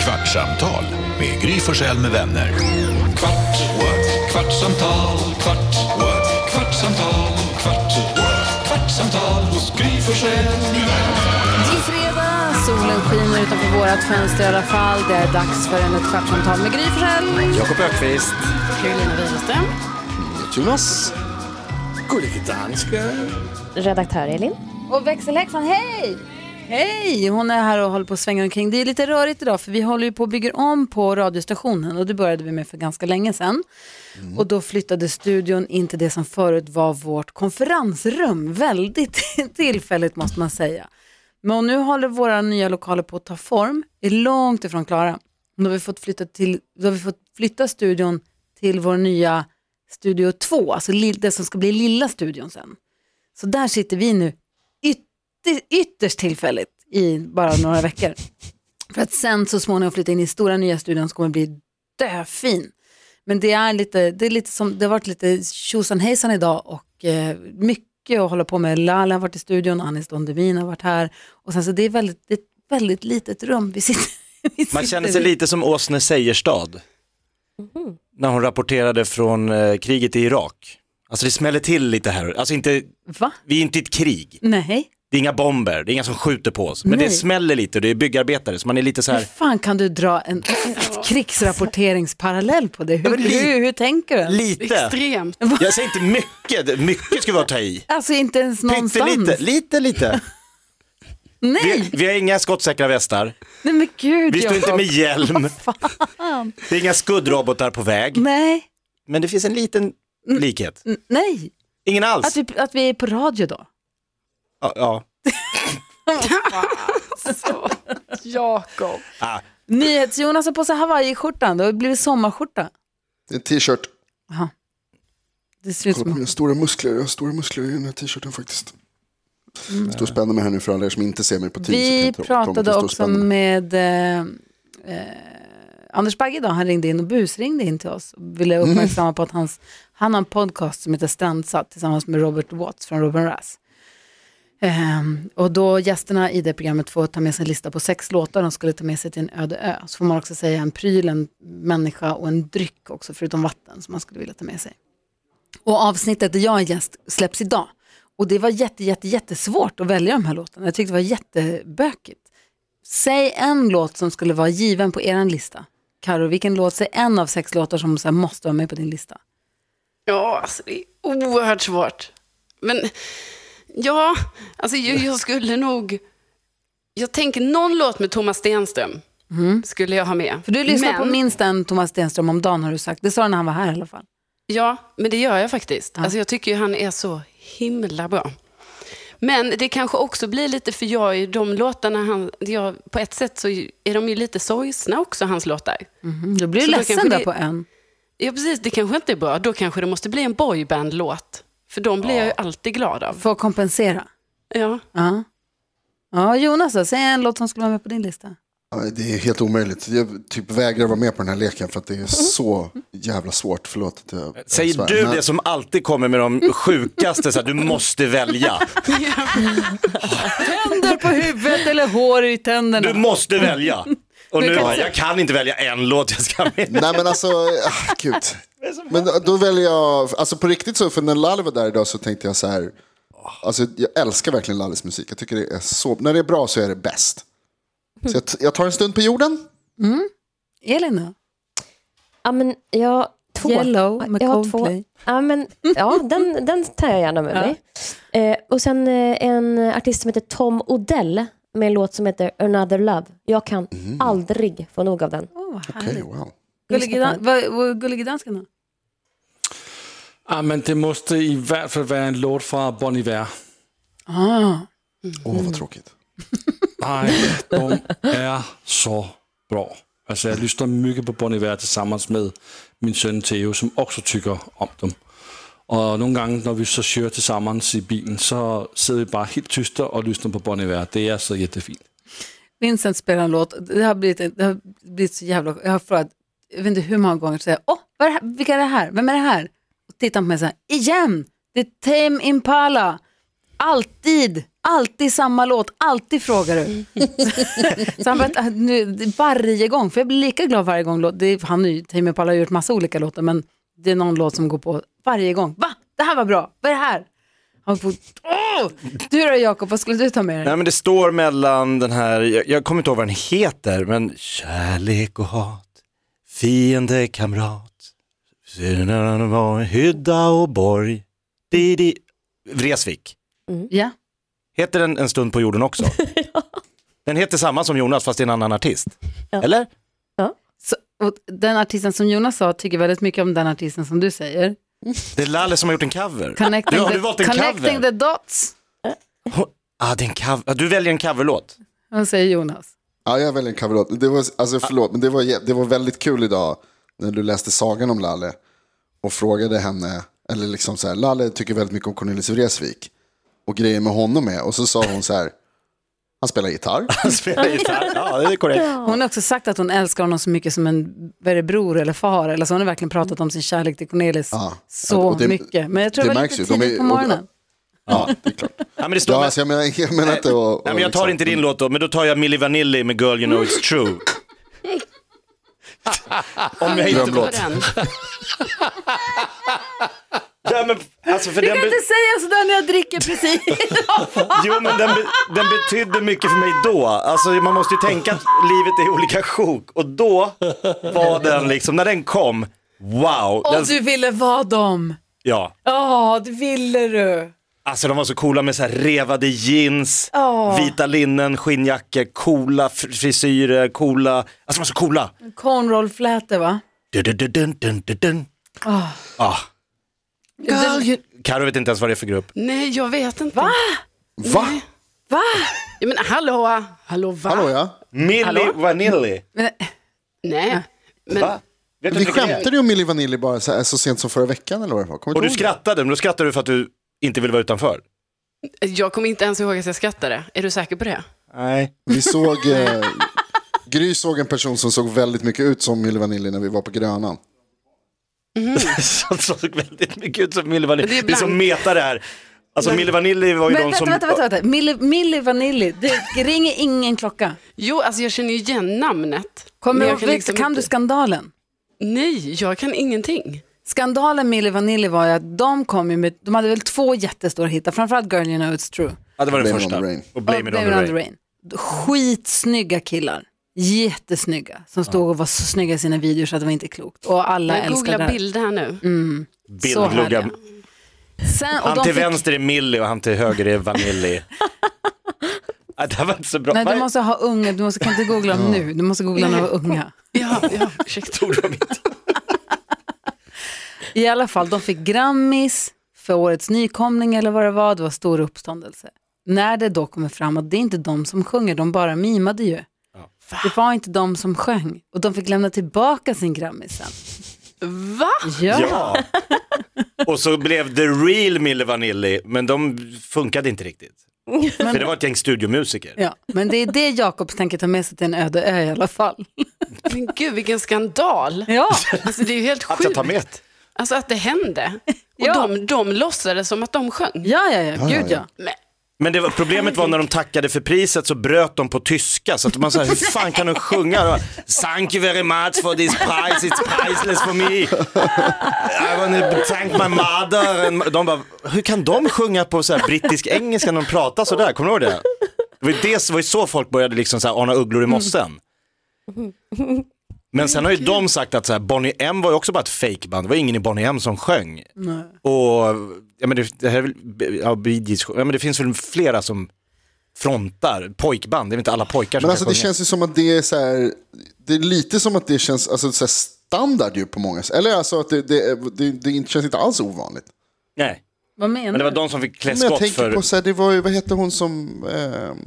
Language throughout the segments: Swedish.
Kvartsamtal med Gry Forssell med vänner. Kvart, what? kvartsamtal, kvart, what? kvartsamtal, kvart, what? kvartsamtal hos Gry Forssell med vänner. Det är fredag, solen skiner utanför vårat fönster i alla fall. Det är dags för en ett kvartsamtal med Gry Forssell. Jakob Ökvist. Karolina Widerström. Thomas. Gullige danska. Redaktör Elin. Och växelhäxan, hej! Hej! Hon är här och håller på och svänger omkring. Det är lite rörigt idag för vi håller ju på och bygger om på radiostationen och det började vi med för ganska länge sedan. Och då flyttade studion in till det som förut var vårt konferensrum. Väldigt tillfälligt måste man säga. Men nu håller våra nya lokaler på att ta form, är långt ifrån klara. Då har vi fått flytta, till, då har vi fått flytta studion till vår nya studio 2, alltså lill- det som ska bli lilla studion sen. Så där sitter vi nu ytter, ytterst tillfälligt i bara några veckor. För att sen så småningom flytta in i stora nya studion som kommer bli döfin. Men det, är lite, det, är lite som, det har varit lite tjosan hejsan idag och eh, mycket att hålla på med. Lala har varit i studion, Anis Don Demin har varit här. Och sen så det är väldigt, det är ett väldigt litet rum vi sitter, vi Mhm. Man sitter känner sig i. lite som Åsne Seierstad. När hon rapporterade från eh, kriget i Irak. Alltså det smäller till lite här. Alltså inte, Va? vi är inte i ett krig. Nej, Det är inga bomber, det är inga som skjuter på oss. Men Nej. det smäller lite och det är byggarbetare så man är lite så hur här. fan kan du dra en krigsrapporteringsparallell på det? Hur, men li- hur, hur tänker du? Lite. Extremt. Jag säger inte mycket, Det- mycket skulle vara att ta i. Alltså inte ens någonstans. Pyttelite, lite lite. Vi, Nej, vi har inga skottsäkra västar, nej men gud vi står inte Jakob. med hjälm, Fan. det är inga skuddrobotar på väg. Nej, Men det finns en liten likhet. n- nej. Ingen alls. Mm. Att vi, att vi är på radio då. Ja, ja. Jakob. Ah, NyhetsJonas har på sig hawaiiskjortan, det har blivit sommarskjorta. En t-shirt. Det ser ut Kolla på som... mina stora muskler. Jag har stora muskler i den här t-shirten faktiskt. Jag står och spänner mig här nu för alla er som inte ser mig på Teams. Vi Jag kan ta- ta mig till pratade stor också spänning. med eh, eh, Anders Bagge idag, han ringde in och busringde in till oss och ville Mm. uppmärksamma på att hans, han har en podcast som heter Strandsatt tillsammans med Robert Watts från Robin Rass. Ehm, och då gästerna i det programmet får ta med sig en lista på sex låtar de skulle ta med sig till en öde ö. Så får man också säga en pryl, en människa och en dryck också, förutom vatten som man skulle vilja ta med sig. Och avsnittet där jag är gäst släpps idag. Och det var jätte, jätte, jättesvårt att välja de här låtarna. Jag tyckte det var jättebökigt. Säg en låt som skulle vara given på er lista. Karo, vilken låt, säg en av sex låtar som så här måste vara med på din lista. Ja, alltså det är oerhört svårt. Men ja, alltså jag, jag skulle nog... Jag tänker någon låt med Thomas Stenström skulle jag ha med. Mm. För du lyssnar men, på minst en Thomas Stenström om dagen har du sagt. Det sa du när han var här i alla fall. Ja, men det gör jag faktiskt. Alltså jag tycker ju han är så himla bra. Men det kanske också blir lite, för jag är ju de låtarna han... Jag, på ett sätt så är de ju lite sorgsna också, hans låtar. Mm, då blir du Så då ledsen kanske där det- på en. Ja, precis. Det kanske inte är bra. Då kanske det måste bli en boyband-låt. För de blir jag ju alltid glad av. För att kompensera. Ja. Ja. Ja, Jonas då, säg en låt som skulle vara med på din lista. Ja, Det är helt omöjligt. Jag typ vägrar vara med på den här leken för att det Mm. är så jävla svårt. Förlåt att jag jag Säger svär. du Men- det som alltid kommer med de sjukaste, så här, du måste välja. Tänder på huvudet eller hår i tänderna. Du måste välja. Och Du nu kan har se- jag kan inte välja en låt jag ska med. Nej men alltså, ah, gud. Men då väljer jag, alltså på riktigt så, för när Lalle var där idag så tänkte jag så här, alltså jag älskar verkligen Lalles musik. Jag tycker det är så, när det är bra så är det bäst. Mm. Så jag, t- jag tar en stund på jorden. Elin då? Ja, men jag, två. Yellow med jag har två. Coldplay. Ja, men, ja den, den tar jag gärna med Ja. mig. Eh, och sen eh, en artist som heter Tom Odell med en låt som heter Another Love. Jag kan aldrig få nog av den. Åh, vad Okej, härligt. wow. Gullige dan- vad- vad- Gullige dansken då? Ah, men det måste i hvert fald være en låt fra Bon Iver. Ah. Åh, vad tråkigt. Ej, de er så bra. Altså, jeg lytter mycket på Bon Iver tillsammans med min søn Theo, som også tykker om dem. Og nogle gange, når vi så kører tillsammans i bilen, så sidder vi bare helt tyster og lytter på Bon Iver. Det er så jättefint. Vincent spelar en låt, det har blivit, det har blivit så jävla... Jag har frågat, jag vet inte hur många gånger, så jag, åh, vad är det här? vilka är det här? Vem är det här? Och tittar på mig så här, igen, det är Tame Impala. Alltid Alltid samma låt, alltid frågar du. så han bara, "Äh, nu, varje gång, för jag blir lika glad varje gång. låt- Det är, han är ju, Tame Impala har gjort massa olika låtar, men det är någon låt som går på varje gång. Va? Det här var bra, vad är det här? Han får, åh! Du då Jakob, vad skulle du ta med dig? Nej men det står mellan den här, jag, jag kommer inte ihåg vad den heter, men kärlek och hat, fiende, kamrat, synen var hydda och borg, didi, Vresvik. Ja. Heter den En stund på jorden också? Den heter samma som Jonas fast det är en annan artist. Eller? Så, och den artisten som Jonas sa tycker väldigt mycket om den artisten som du säger. Det är Lalle som har gjort en cover. Connecting, du, har du the, valt en connecting cover? the dots, Hon- Ah, det är en cover. Ah, Du väljer en coverlåt. vad säger Jonas. Ja, jag väljer en coverlåt. Det var, Ah. alltså förlåt, men det var, jä- det var väldigt kul idag när du läste sagan om Lalle och frågade henne, eller liksom så här, Lalle tycker väldigt mycket om Cornelis Vreeswijk och grejer med honom är, och så sa hon så här, han spelar gitarr. Han spelar gitarr. Ja, det är korrekt. Hon har också sagt att hon älskar honom så mycket som en vad är det, bror eller far. Eller så hon har verkligen pratat om sin kärlek till Cornelis Ja. så Och det- mycket. Men jag tror det det var lite märks ju. De tidigt är- på morgonen. Ja, det är klart. Ja, men det står Ja, med- alltså, jag menar, jag menar inte att... och Nej, men jag tar liksom- inte din låt då, men då tar jag Milli Vanilli med Girl You Know It's True. Om jag inte... På Drömlåt. den. Ja, men, alltså för Du den kan be... inte säga sådär när jag dricker precis. Jo, men den, be... den betydde mycket för mig då. Alltså man måste ju tänka att livet är olika sjok. Och då var den liksom, när den kom, wow. Den... Och du ville vara dem. Ja. Ja, det ville du. Alltså de var så coola med så här revade jeans, vita linnen, skinnjackor, coola fr- frisyrer, coola, alltså de var så coola. Cornrollflätor va? Dun, dun, dun, dun, dun, dun, dun. Ah. Karo vet inte ens vad det är för grupp. Nej, jag vet inte. Va? Va? Va? Ja, men hallå, hallå va? Hallå ja? Milli Vanilli. Men, Nej. Men, Va? Vet du inte Vi vilka det är? skämtade ju om Milli Vanilli bara så, här, så sent som förra veckan eller vad det var. Kommer Och du ihåg det? skrattade, men då skrattade du för att du inte ville vara utanför. Jag kommer inte ens ihåg att jag skrattade. Är du säker på det? Nej. Vi såg... Eh, Gry såg en person som såg väldigt mycket ut som Milli Vanilli när vi var på Grönan. Som såg väldigt mycket ut som Milli Vanilli. Det Det är, är så blank. meta det här. Alltså Milli Vanilli var ju men de vänta, som... vänta, vänta, vänta. Milli, Milli Vanilli, det ringer ingen klocka. Jo, alltså jag känner ju igen namnet. Kommer Men du ihåg, jag kan, liksom kan inte- du skandalen? Nej, jag kan ingenting. Skandalen Milli Vanilli var ju att de kom ju med, de hade väl två jättestora hittar, framförallt Girl You Know It's True. Ja, det var den Blame It första. On The Rain. Och Blame It Oh, On The Rain. Skitsnygga killar. Jättesnygga. Som stod och var så snygga i sina videor så att det var inte klokt. Och alla Jag älskade googlar det. Mm. bild här nu. Så härliga. Bildglugga. Sen, och Han de till fick, vänster är Milli och han till höger är Vanilli. ja, det här var inte så bra. Nej, Vad du måste ha unga, du måste, kan inte googla dem nu, du måste googla när de var unga. Ja, ja, ursäkta. tog de inte? I alla fall, de fick Grammis för årets nykomling eller vad det var, det var stor uppståndelse. När det då kommer fram att det är inte de som sjunger, de bara mimade ju. Det var inte de som sjöng och de fick lämna tillbaka sin Grammis sen. Va? Ja. Ja. Och så blev det real Milli Vanilli, men de funkade inte riktigt. För det var ett gäng studiomusiker. Ja, men det är det Jakob tänker ta med sig till en öde ö i alla fall. Men gud, vilken skandal. Ja, Alltså det är ju helt Att jag sjukt. tar med. Alltså att det hände. Och Ja. de, de låtsades som att de sjöng. ja, ja, ja. gud ja. Men, Men det var, problemet var när de tackade för priset så bröt de på tyska så att man sa hur fan kan de sjunga? då? Thank you very much for this prize, it's priceless for me. I wanna thank my mother. And de bara, hur kan de sjunga på så här brittisk engelska när de pratar så där? Kommer du ihåg det? Det var ju, det, det var ju så folk började liksom så här ana ugglor i mossen. Men sen har ju de sagt att så här, Bonnie M var ju också bara ett fejkband, det var ingen i Bonnie M som sjöng. Och ja, men det, det, här, är väl- ja, Bee Gees, ja, men det finns väl flera som frontar pojkband, det är väl inte alla pojkar som Men alltså kan det sjunga. känns ju som att det är så här, det är lite som att det känns alltså, så här standard ju på många Eller alltså att det, det, det, det känns inte alls ovanligt. Nej, Vad menar men det var du? de som fick klä Men jag skott tänker för... på så här, det var ju, vad heter hon som, ehm,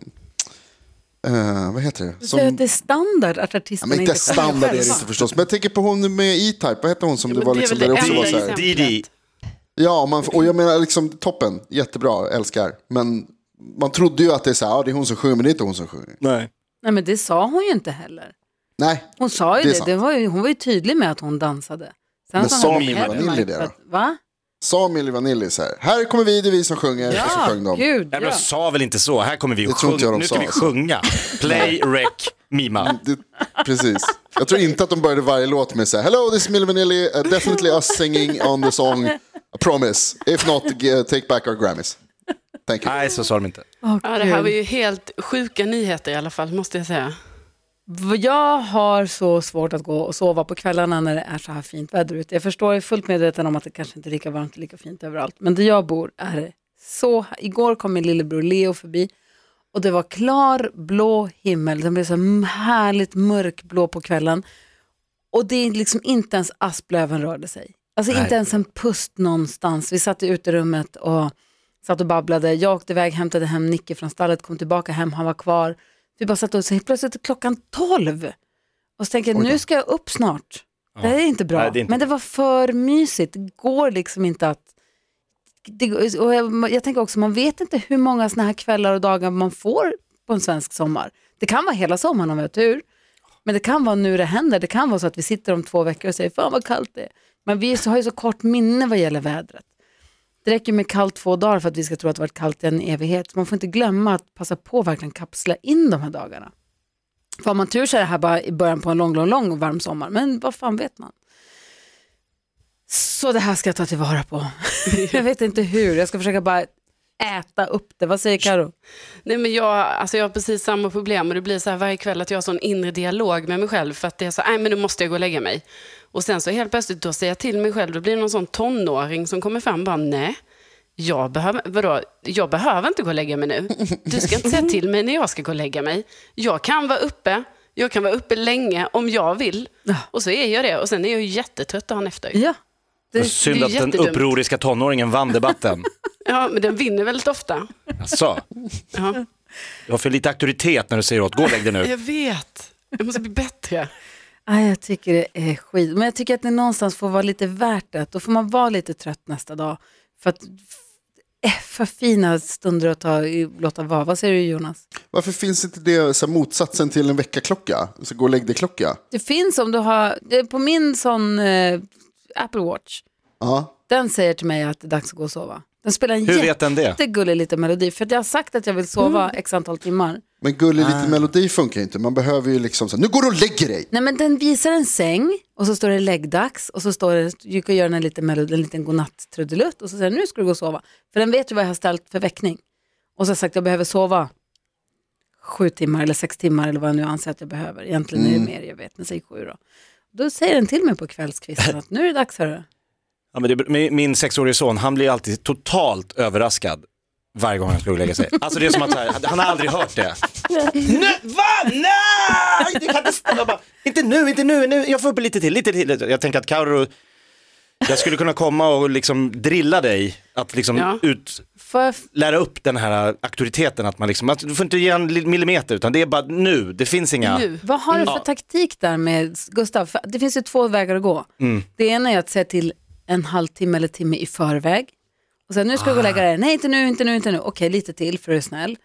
eh, vad heter det? Du säger att Som, det är standard att ja, artisterna men inte sjunger standard är det själva. inte förstås, men jag tänker på hon med E-Type, vad heter hon som det men var det är liksom, väl där det det också var enda så här, exemplet. Didi, Ja, man, och jag menar liksom toppen, jättebra, älskar. Men man trodde ju att det är så här, ja det är hon som sjunger, men det är inte hon som sjunger. Nej. Nej, men det sa hon ju inte heller. Nej, Hon sa ju Det är det, sant. det var ju, hon var ju tydlig med att hon dansade. Sen Men sa hon sa att- Milli Vanilli det då? Va? Samuel Vanilli så här. Här kommer vi, det är vi som sjunger. och så sjöng de. Gud, Nej, men ja. de sa väl inte så, här kommer vi Det och tror inte jag sjunga. de Nu ska sa, vi alltså. sjunga. Play, rec, mima. Det, precis. Jag tror inte att de började varje låt med så här. Hello, this is Milli Vanilli. Uh, definitely us singing on the song. I promise. If not, g- uh, take back our Grammys. Thank you. Nej, så sa de inte. Ja, det Mm. här var ju helt sjuka nyheter i alla fall, måste jag säga. V- Jag har så svårt att gå och sova på kvällarna när det är så här fint väder ute. Jag förstår, jag är fullt medveten om att det kanske inte är lika varmt och lika fint överallt. Men där jag bor är det så. Igår kom min lillebror Leo förbi och det var klar blå himmel. Den blev så m- härligt mörkblå på kvällen. Och det är liksom inte ens asplöven rörde sig. Alltså inte ens en pust någonstans. Vi satt i uterummet och satt och babblade. Jag åkte iväg, hämtade hem Nicke från stallet, kom tillbaka hem, han var kvar. Vi bara satt och så helt plötsligt är klockan tolv. Och så tänker jag, nu ska jag upp snart. Det här är inte bra. Nej, det är inte Men det var för mysigt. Det går liksom inte att... Det, och jag, jag tänker också, man vet inte hur många sådana här kvällar och dagar man får på en svensk sommar. Det kan vara hela sommaren om vi har tur. Men det kan vara nu det händer. Det kan vara så att vi sitter om två veckor och säger fan vad kallt det är. Men vi är så- har ju så kort minne vad gäller vädret. Det räcker med kallt två dagar för att vi ska tro att det varit kallt i en evighet. Man får inte glömma att passa på att verkligen kapsla in de här dagarna. För har man tur så är det här bara i början på en lång, lång, lång och varm sommar. Men vad fan vet man? Så det här ska jag ta tillvara på. jag vet inte hur. Jag ska försöka bara äta upp det. Vad säger Karo? Nej, men jag, alltså jag har precis samma problem och det blir så här varje kväll att jag har sån inre dialog med mig själv för att det är så, nej men nu måste jag gå och lägga mig. Och sen så helt plötsligt då säger jag till mig själv, då blir det någon sån tonåring som kommer fram och bara, nej, jag behöver, vadå, jag behöver inte gå och lägga mig nu. Du ska inte säga till mig när jag ska gå och lägga mig. Jag kan vara uppe, jag kan vara uppe länge om jag vill. Och så är jag det och sen är jag ju jättetrött dagen efter. Ja. Det, Synd det är att den jättedumt. upproriska tonåringen vann debatten. Ja, men den vinner väldigt ofta. Alltså, Ja. du har för lite auktoritet när du säger åt, gå och lägg dig nu. Jag vet, jag måste bli bättre. aj, Ah, jag tycker det är skit. Men jag tycker att det någonstans får vara lite värt det. Då får man vara lite trött nästa dag. För att eh, för fina stunder att ta, låta vara. Vad säger du Jonas? Varför finns inte det så här, motsatsen till en väckarklocka? Så gå och lägg dig-klocka. Det finns om du har, det är på min sån eh, Apple Watch, Ja. den säger till mig att det är dags att gå och sova. Den spelar en Hur vet den det? jättegullig liten melodi, för att jag har sagt att jag vill sova x antal timmar. Men gullig liten melodi funkar ju inte. Man behöver ju liksom så här, nu går du och lägger dig. Nej men den visar en säng och så står det läggdags och så står det, du kan göra en liten melodi, en liten godnatt-trudelutt och så säger den, nu ska du gå och sova. För den vet ju vad jag har ställt för väckning. Och så har jag sagt jag behöver sova sju timmar eller sex timmar eller vad jag nu anser att jag behöver. Egentligen är det Mm. mer, jag vet, den säger sju då. Då säger den till mig på kvällskvisten att nu är det dags hörru. Ja, men det, min, min sexårige son, han blir alltid totalt överraskad varje gång han ska gå och lägga sig. Alltså det är som att så här, han har aldrig hört det. Nej, va? Nej! Det kan inte stämma. Jag bara, Inte nu, inte nu, nu, jag får upp lite till, lite till. Jag tänker att Karo, jag skulle kunna komma och liksom drilla dig att liksom Ja. ut, Får jag lära upp den här auktoriteten att man liksom, att du får inte ge en li- millimeter utan det är bara nu, det finns inga... Nu. Vad har Mm. du för taktik där med Gustav? För det finns ju två vägar att gå. Mm. Det ena är att säga till en halvtimme eller timme i förväg. Och sen nu ska du gå och Ah. lägga dig. Nej, inte nu, inte nu, inte nu. Okej, lite till för att du är snäll.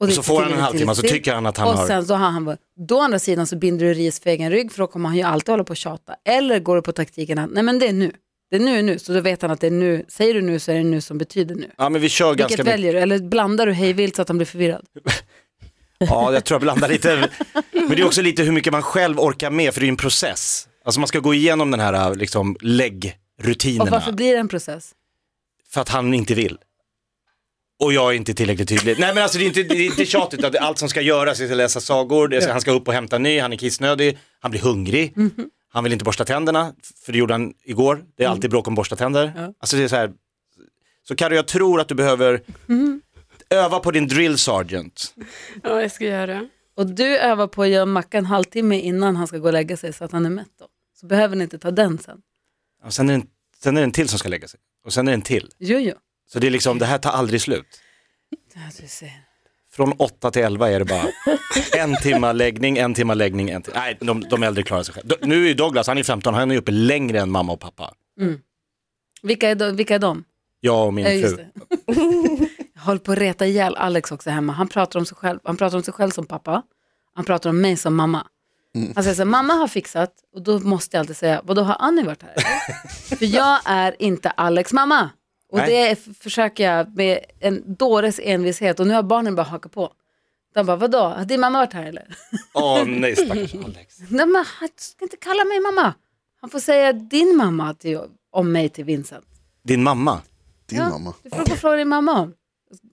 Och så lite får till, han en lite till, halvtimme, lite så till. tycker han att han och har- Sen så har han, då å andra sidan så binder du ris för egen rygg för då kommer han ju alltid hålla på och tjata. Eller går du på taktiken att nej men det är nu. Det är nu, nu. Så då vet han att det är nu. Säger du nu så är det nu som betyder nu. Ja men vi kör ganska Vilket mycket. väljer du? Eller blandar du hejvilt så att han blir förvirrad? Ja, jag tror jag blandar lite. Men det är också lite hur mycket man själv orkar med, för det är ju en process. Alltså man ska gå igenom den här liksom, Och läggrutinerna varför blir det en process? för att han inte vill. Och jag är inte tillräckligt tydlig. Nej men alltså det är inte, det är inte tjat utan det är allt som ska göras är att läsa sagor, det är, han ska upp och hämta en ny, han är kissnödig, han blir hungrig, Mhm. han vill inte borsta tänderna, för det gjorde han igår. Det är Mm. alltid bråk om borsta tänder. Alltså det är så här, så Carro jag tror att du behöver Mhm. öva på din drill sergeant. Ja, jag ska göra det. Och du övar på att göra macka en halvtimme innan han ska gå och lägga sig så att han är mätt då. Så behöver ni inte ta den sen. Ja, sen, är det en, sen är det en till som ska lägga sig. Och sen är det en till. Jo, jo. Så det är liksom, det här tar aldrig slut. Ja, du ser. Från 8 till 11 är det bara en timma läggning, en timma läggning, en timma. Nej, de, de äldre klarar sig själva. De- Nu är ju Douglas, han är 15, han är uppe längre än mamma och pappa. Vilka är de? Vilka är de? Jag och Ja, min just fru. det. Jag håller på att reta ihjäl Alex också hemma. Han pratar om sig själv, han pratar om sig själv som pappa. Han pratar om mig som mamma. Mm. Han säger så här, mamma har fixat och då måste jag alltid säga, vadå har Annie varit här? För jag är inte Alex mamma. Och Nej. det f- försöker jag med en dåres envishet och nu har barnen bara hakat på. De bara, vadå, har din mamma varit här eller? Åh nej stackars Alex. Nej men han ska inte kalla mig mamma. Han får säga din mamma till, om mig till Vincent. Din mamma. Din Ja. mamma. Du får gå och fråga din mamma om.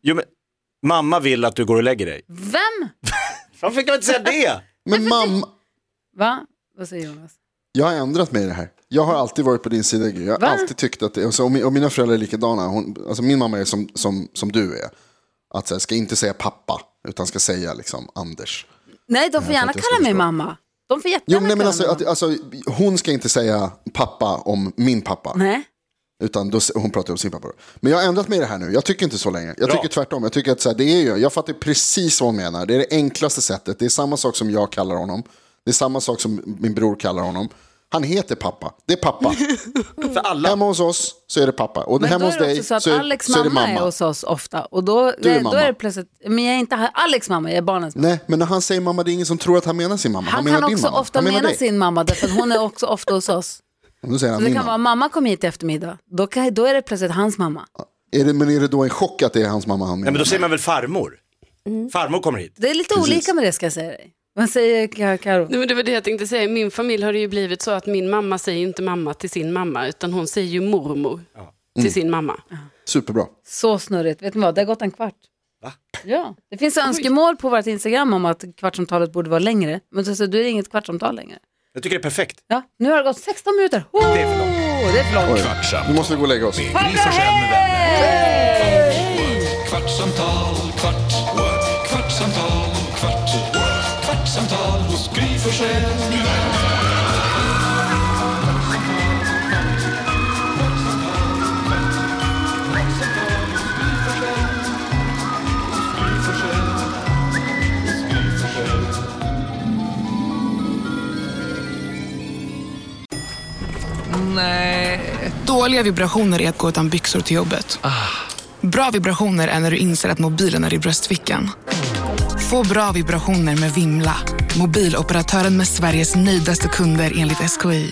Jo, men, mamma vill att du går och lägger dig. Vem? Varför fick jag inte säga Mm. det? Men mamma, Va? Vad säger Jonas? jag har ändrat mig i det här. Jag har alltid varit på din sida Gry. Jag har Va? alltid tyckt att det, alltså, och, min, och mina föräldrar är likadana. Hon, alltså, min mamma är som, som, som du är. Att så här, ska inte säga pappa, utan ska säga liksom Anders. Nej, de får gärna jag ska kalla mig förstå. mamma. De får jättegärna Jo, nej, men kalla alltså, mig att, mamma. alltså, hon ska inte säga pappa om min pappa. Nej. Utan då, hon pratar om sin pappa. då. Men jag har ändrat mig i det här nu. Jag tycker inte så längre. Jag Bra. tycker tvärtom. Jag, tycker att, så här, det är ju, jag fattar precis vad hon menar. Det är det enklaste sättet. Det är samma sak som jag kallar honom. Det är samma sak som min bror kallar honom. Han heter pappa. Det är pappa. För alla. hemma hos oss så är det pappa. Och Men hemma då hos är det dig också så att är, Alex så är det mamma är, mamma. hos oss ofta. Och då, är nej, då mamma. är det plötsligt, men jag är inte här. Alex mamma, jag är barnens mamma. Nej, men när han säger mamma, det är ingen som tror att han menar sin mamma. Han, Han, menar kan din också mamma. ofta han menar mena dig. sin mamma, därför att hon är också ofta hos oss. Och Då säger han Så det min kan mamma. vara mamma kom hit i eftermiddag. Då, kan, då är det plötsligt hans mamma. Är det, men är det då en chock att det är hans mamma han Nej, menar? men då säger man väl farmor? Mm. Farmor kommer hit. Det är lite olika med det ska jag säga dig. Vad säger Ka- Karo? Nej, men det var det jag tänkte säga. I min familj har det ju blivit så att min mamma säger ju inte mamma till sin mamma, utan hon säger ju mormor till sin mamma. Superbra. Så snurrigt. Vet ni vad, det har gått en kvart. Va? Ja. Det finns önskemål på vårt Instagram om att kvartsamtalet borde vara längre. Men så, så, då är det inget kvartsamtal längre. Jag tycker det är perfekt. Ja, nu har det gått 16 minuter. Oh, det är för långt. Det är för långt. Nu Kvartsamtal måste vi gå och lägga oss. med Gry Forssell med vänner. Kvartsamtal, kvart, what? kvartsamtal, kvart, what? kvartsamtal hos Gry Forssell med vänner. Dåliga vibrationer är att gå utan byxor till jobbet. Bra vibrationer är när du inser att mobilen är i bröstfickan. Få bra vibrationer med Vimla. Mobiloperatören med Sveriges nöjdaste kunder enligt SKI.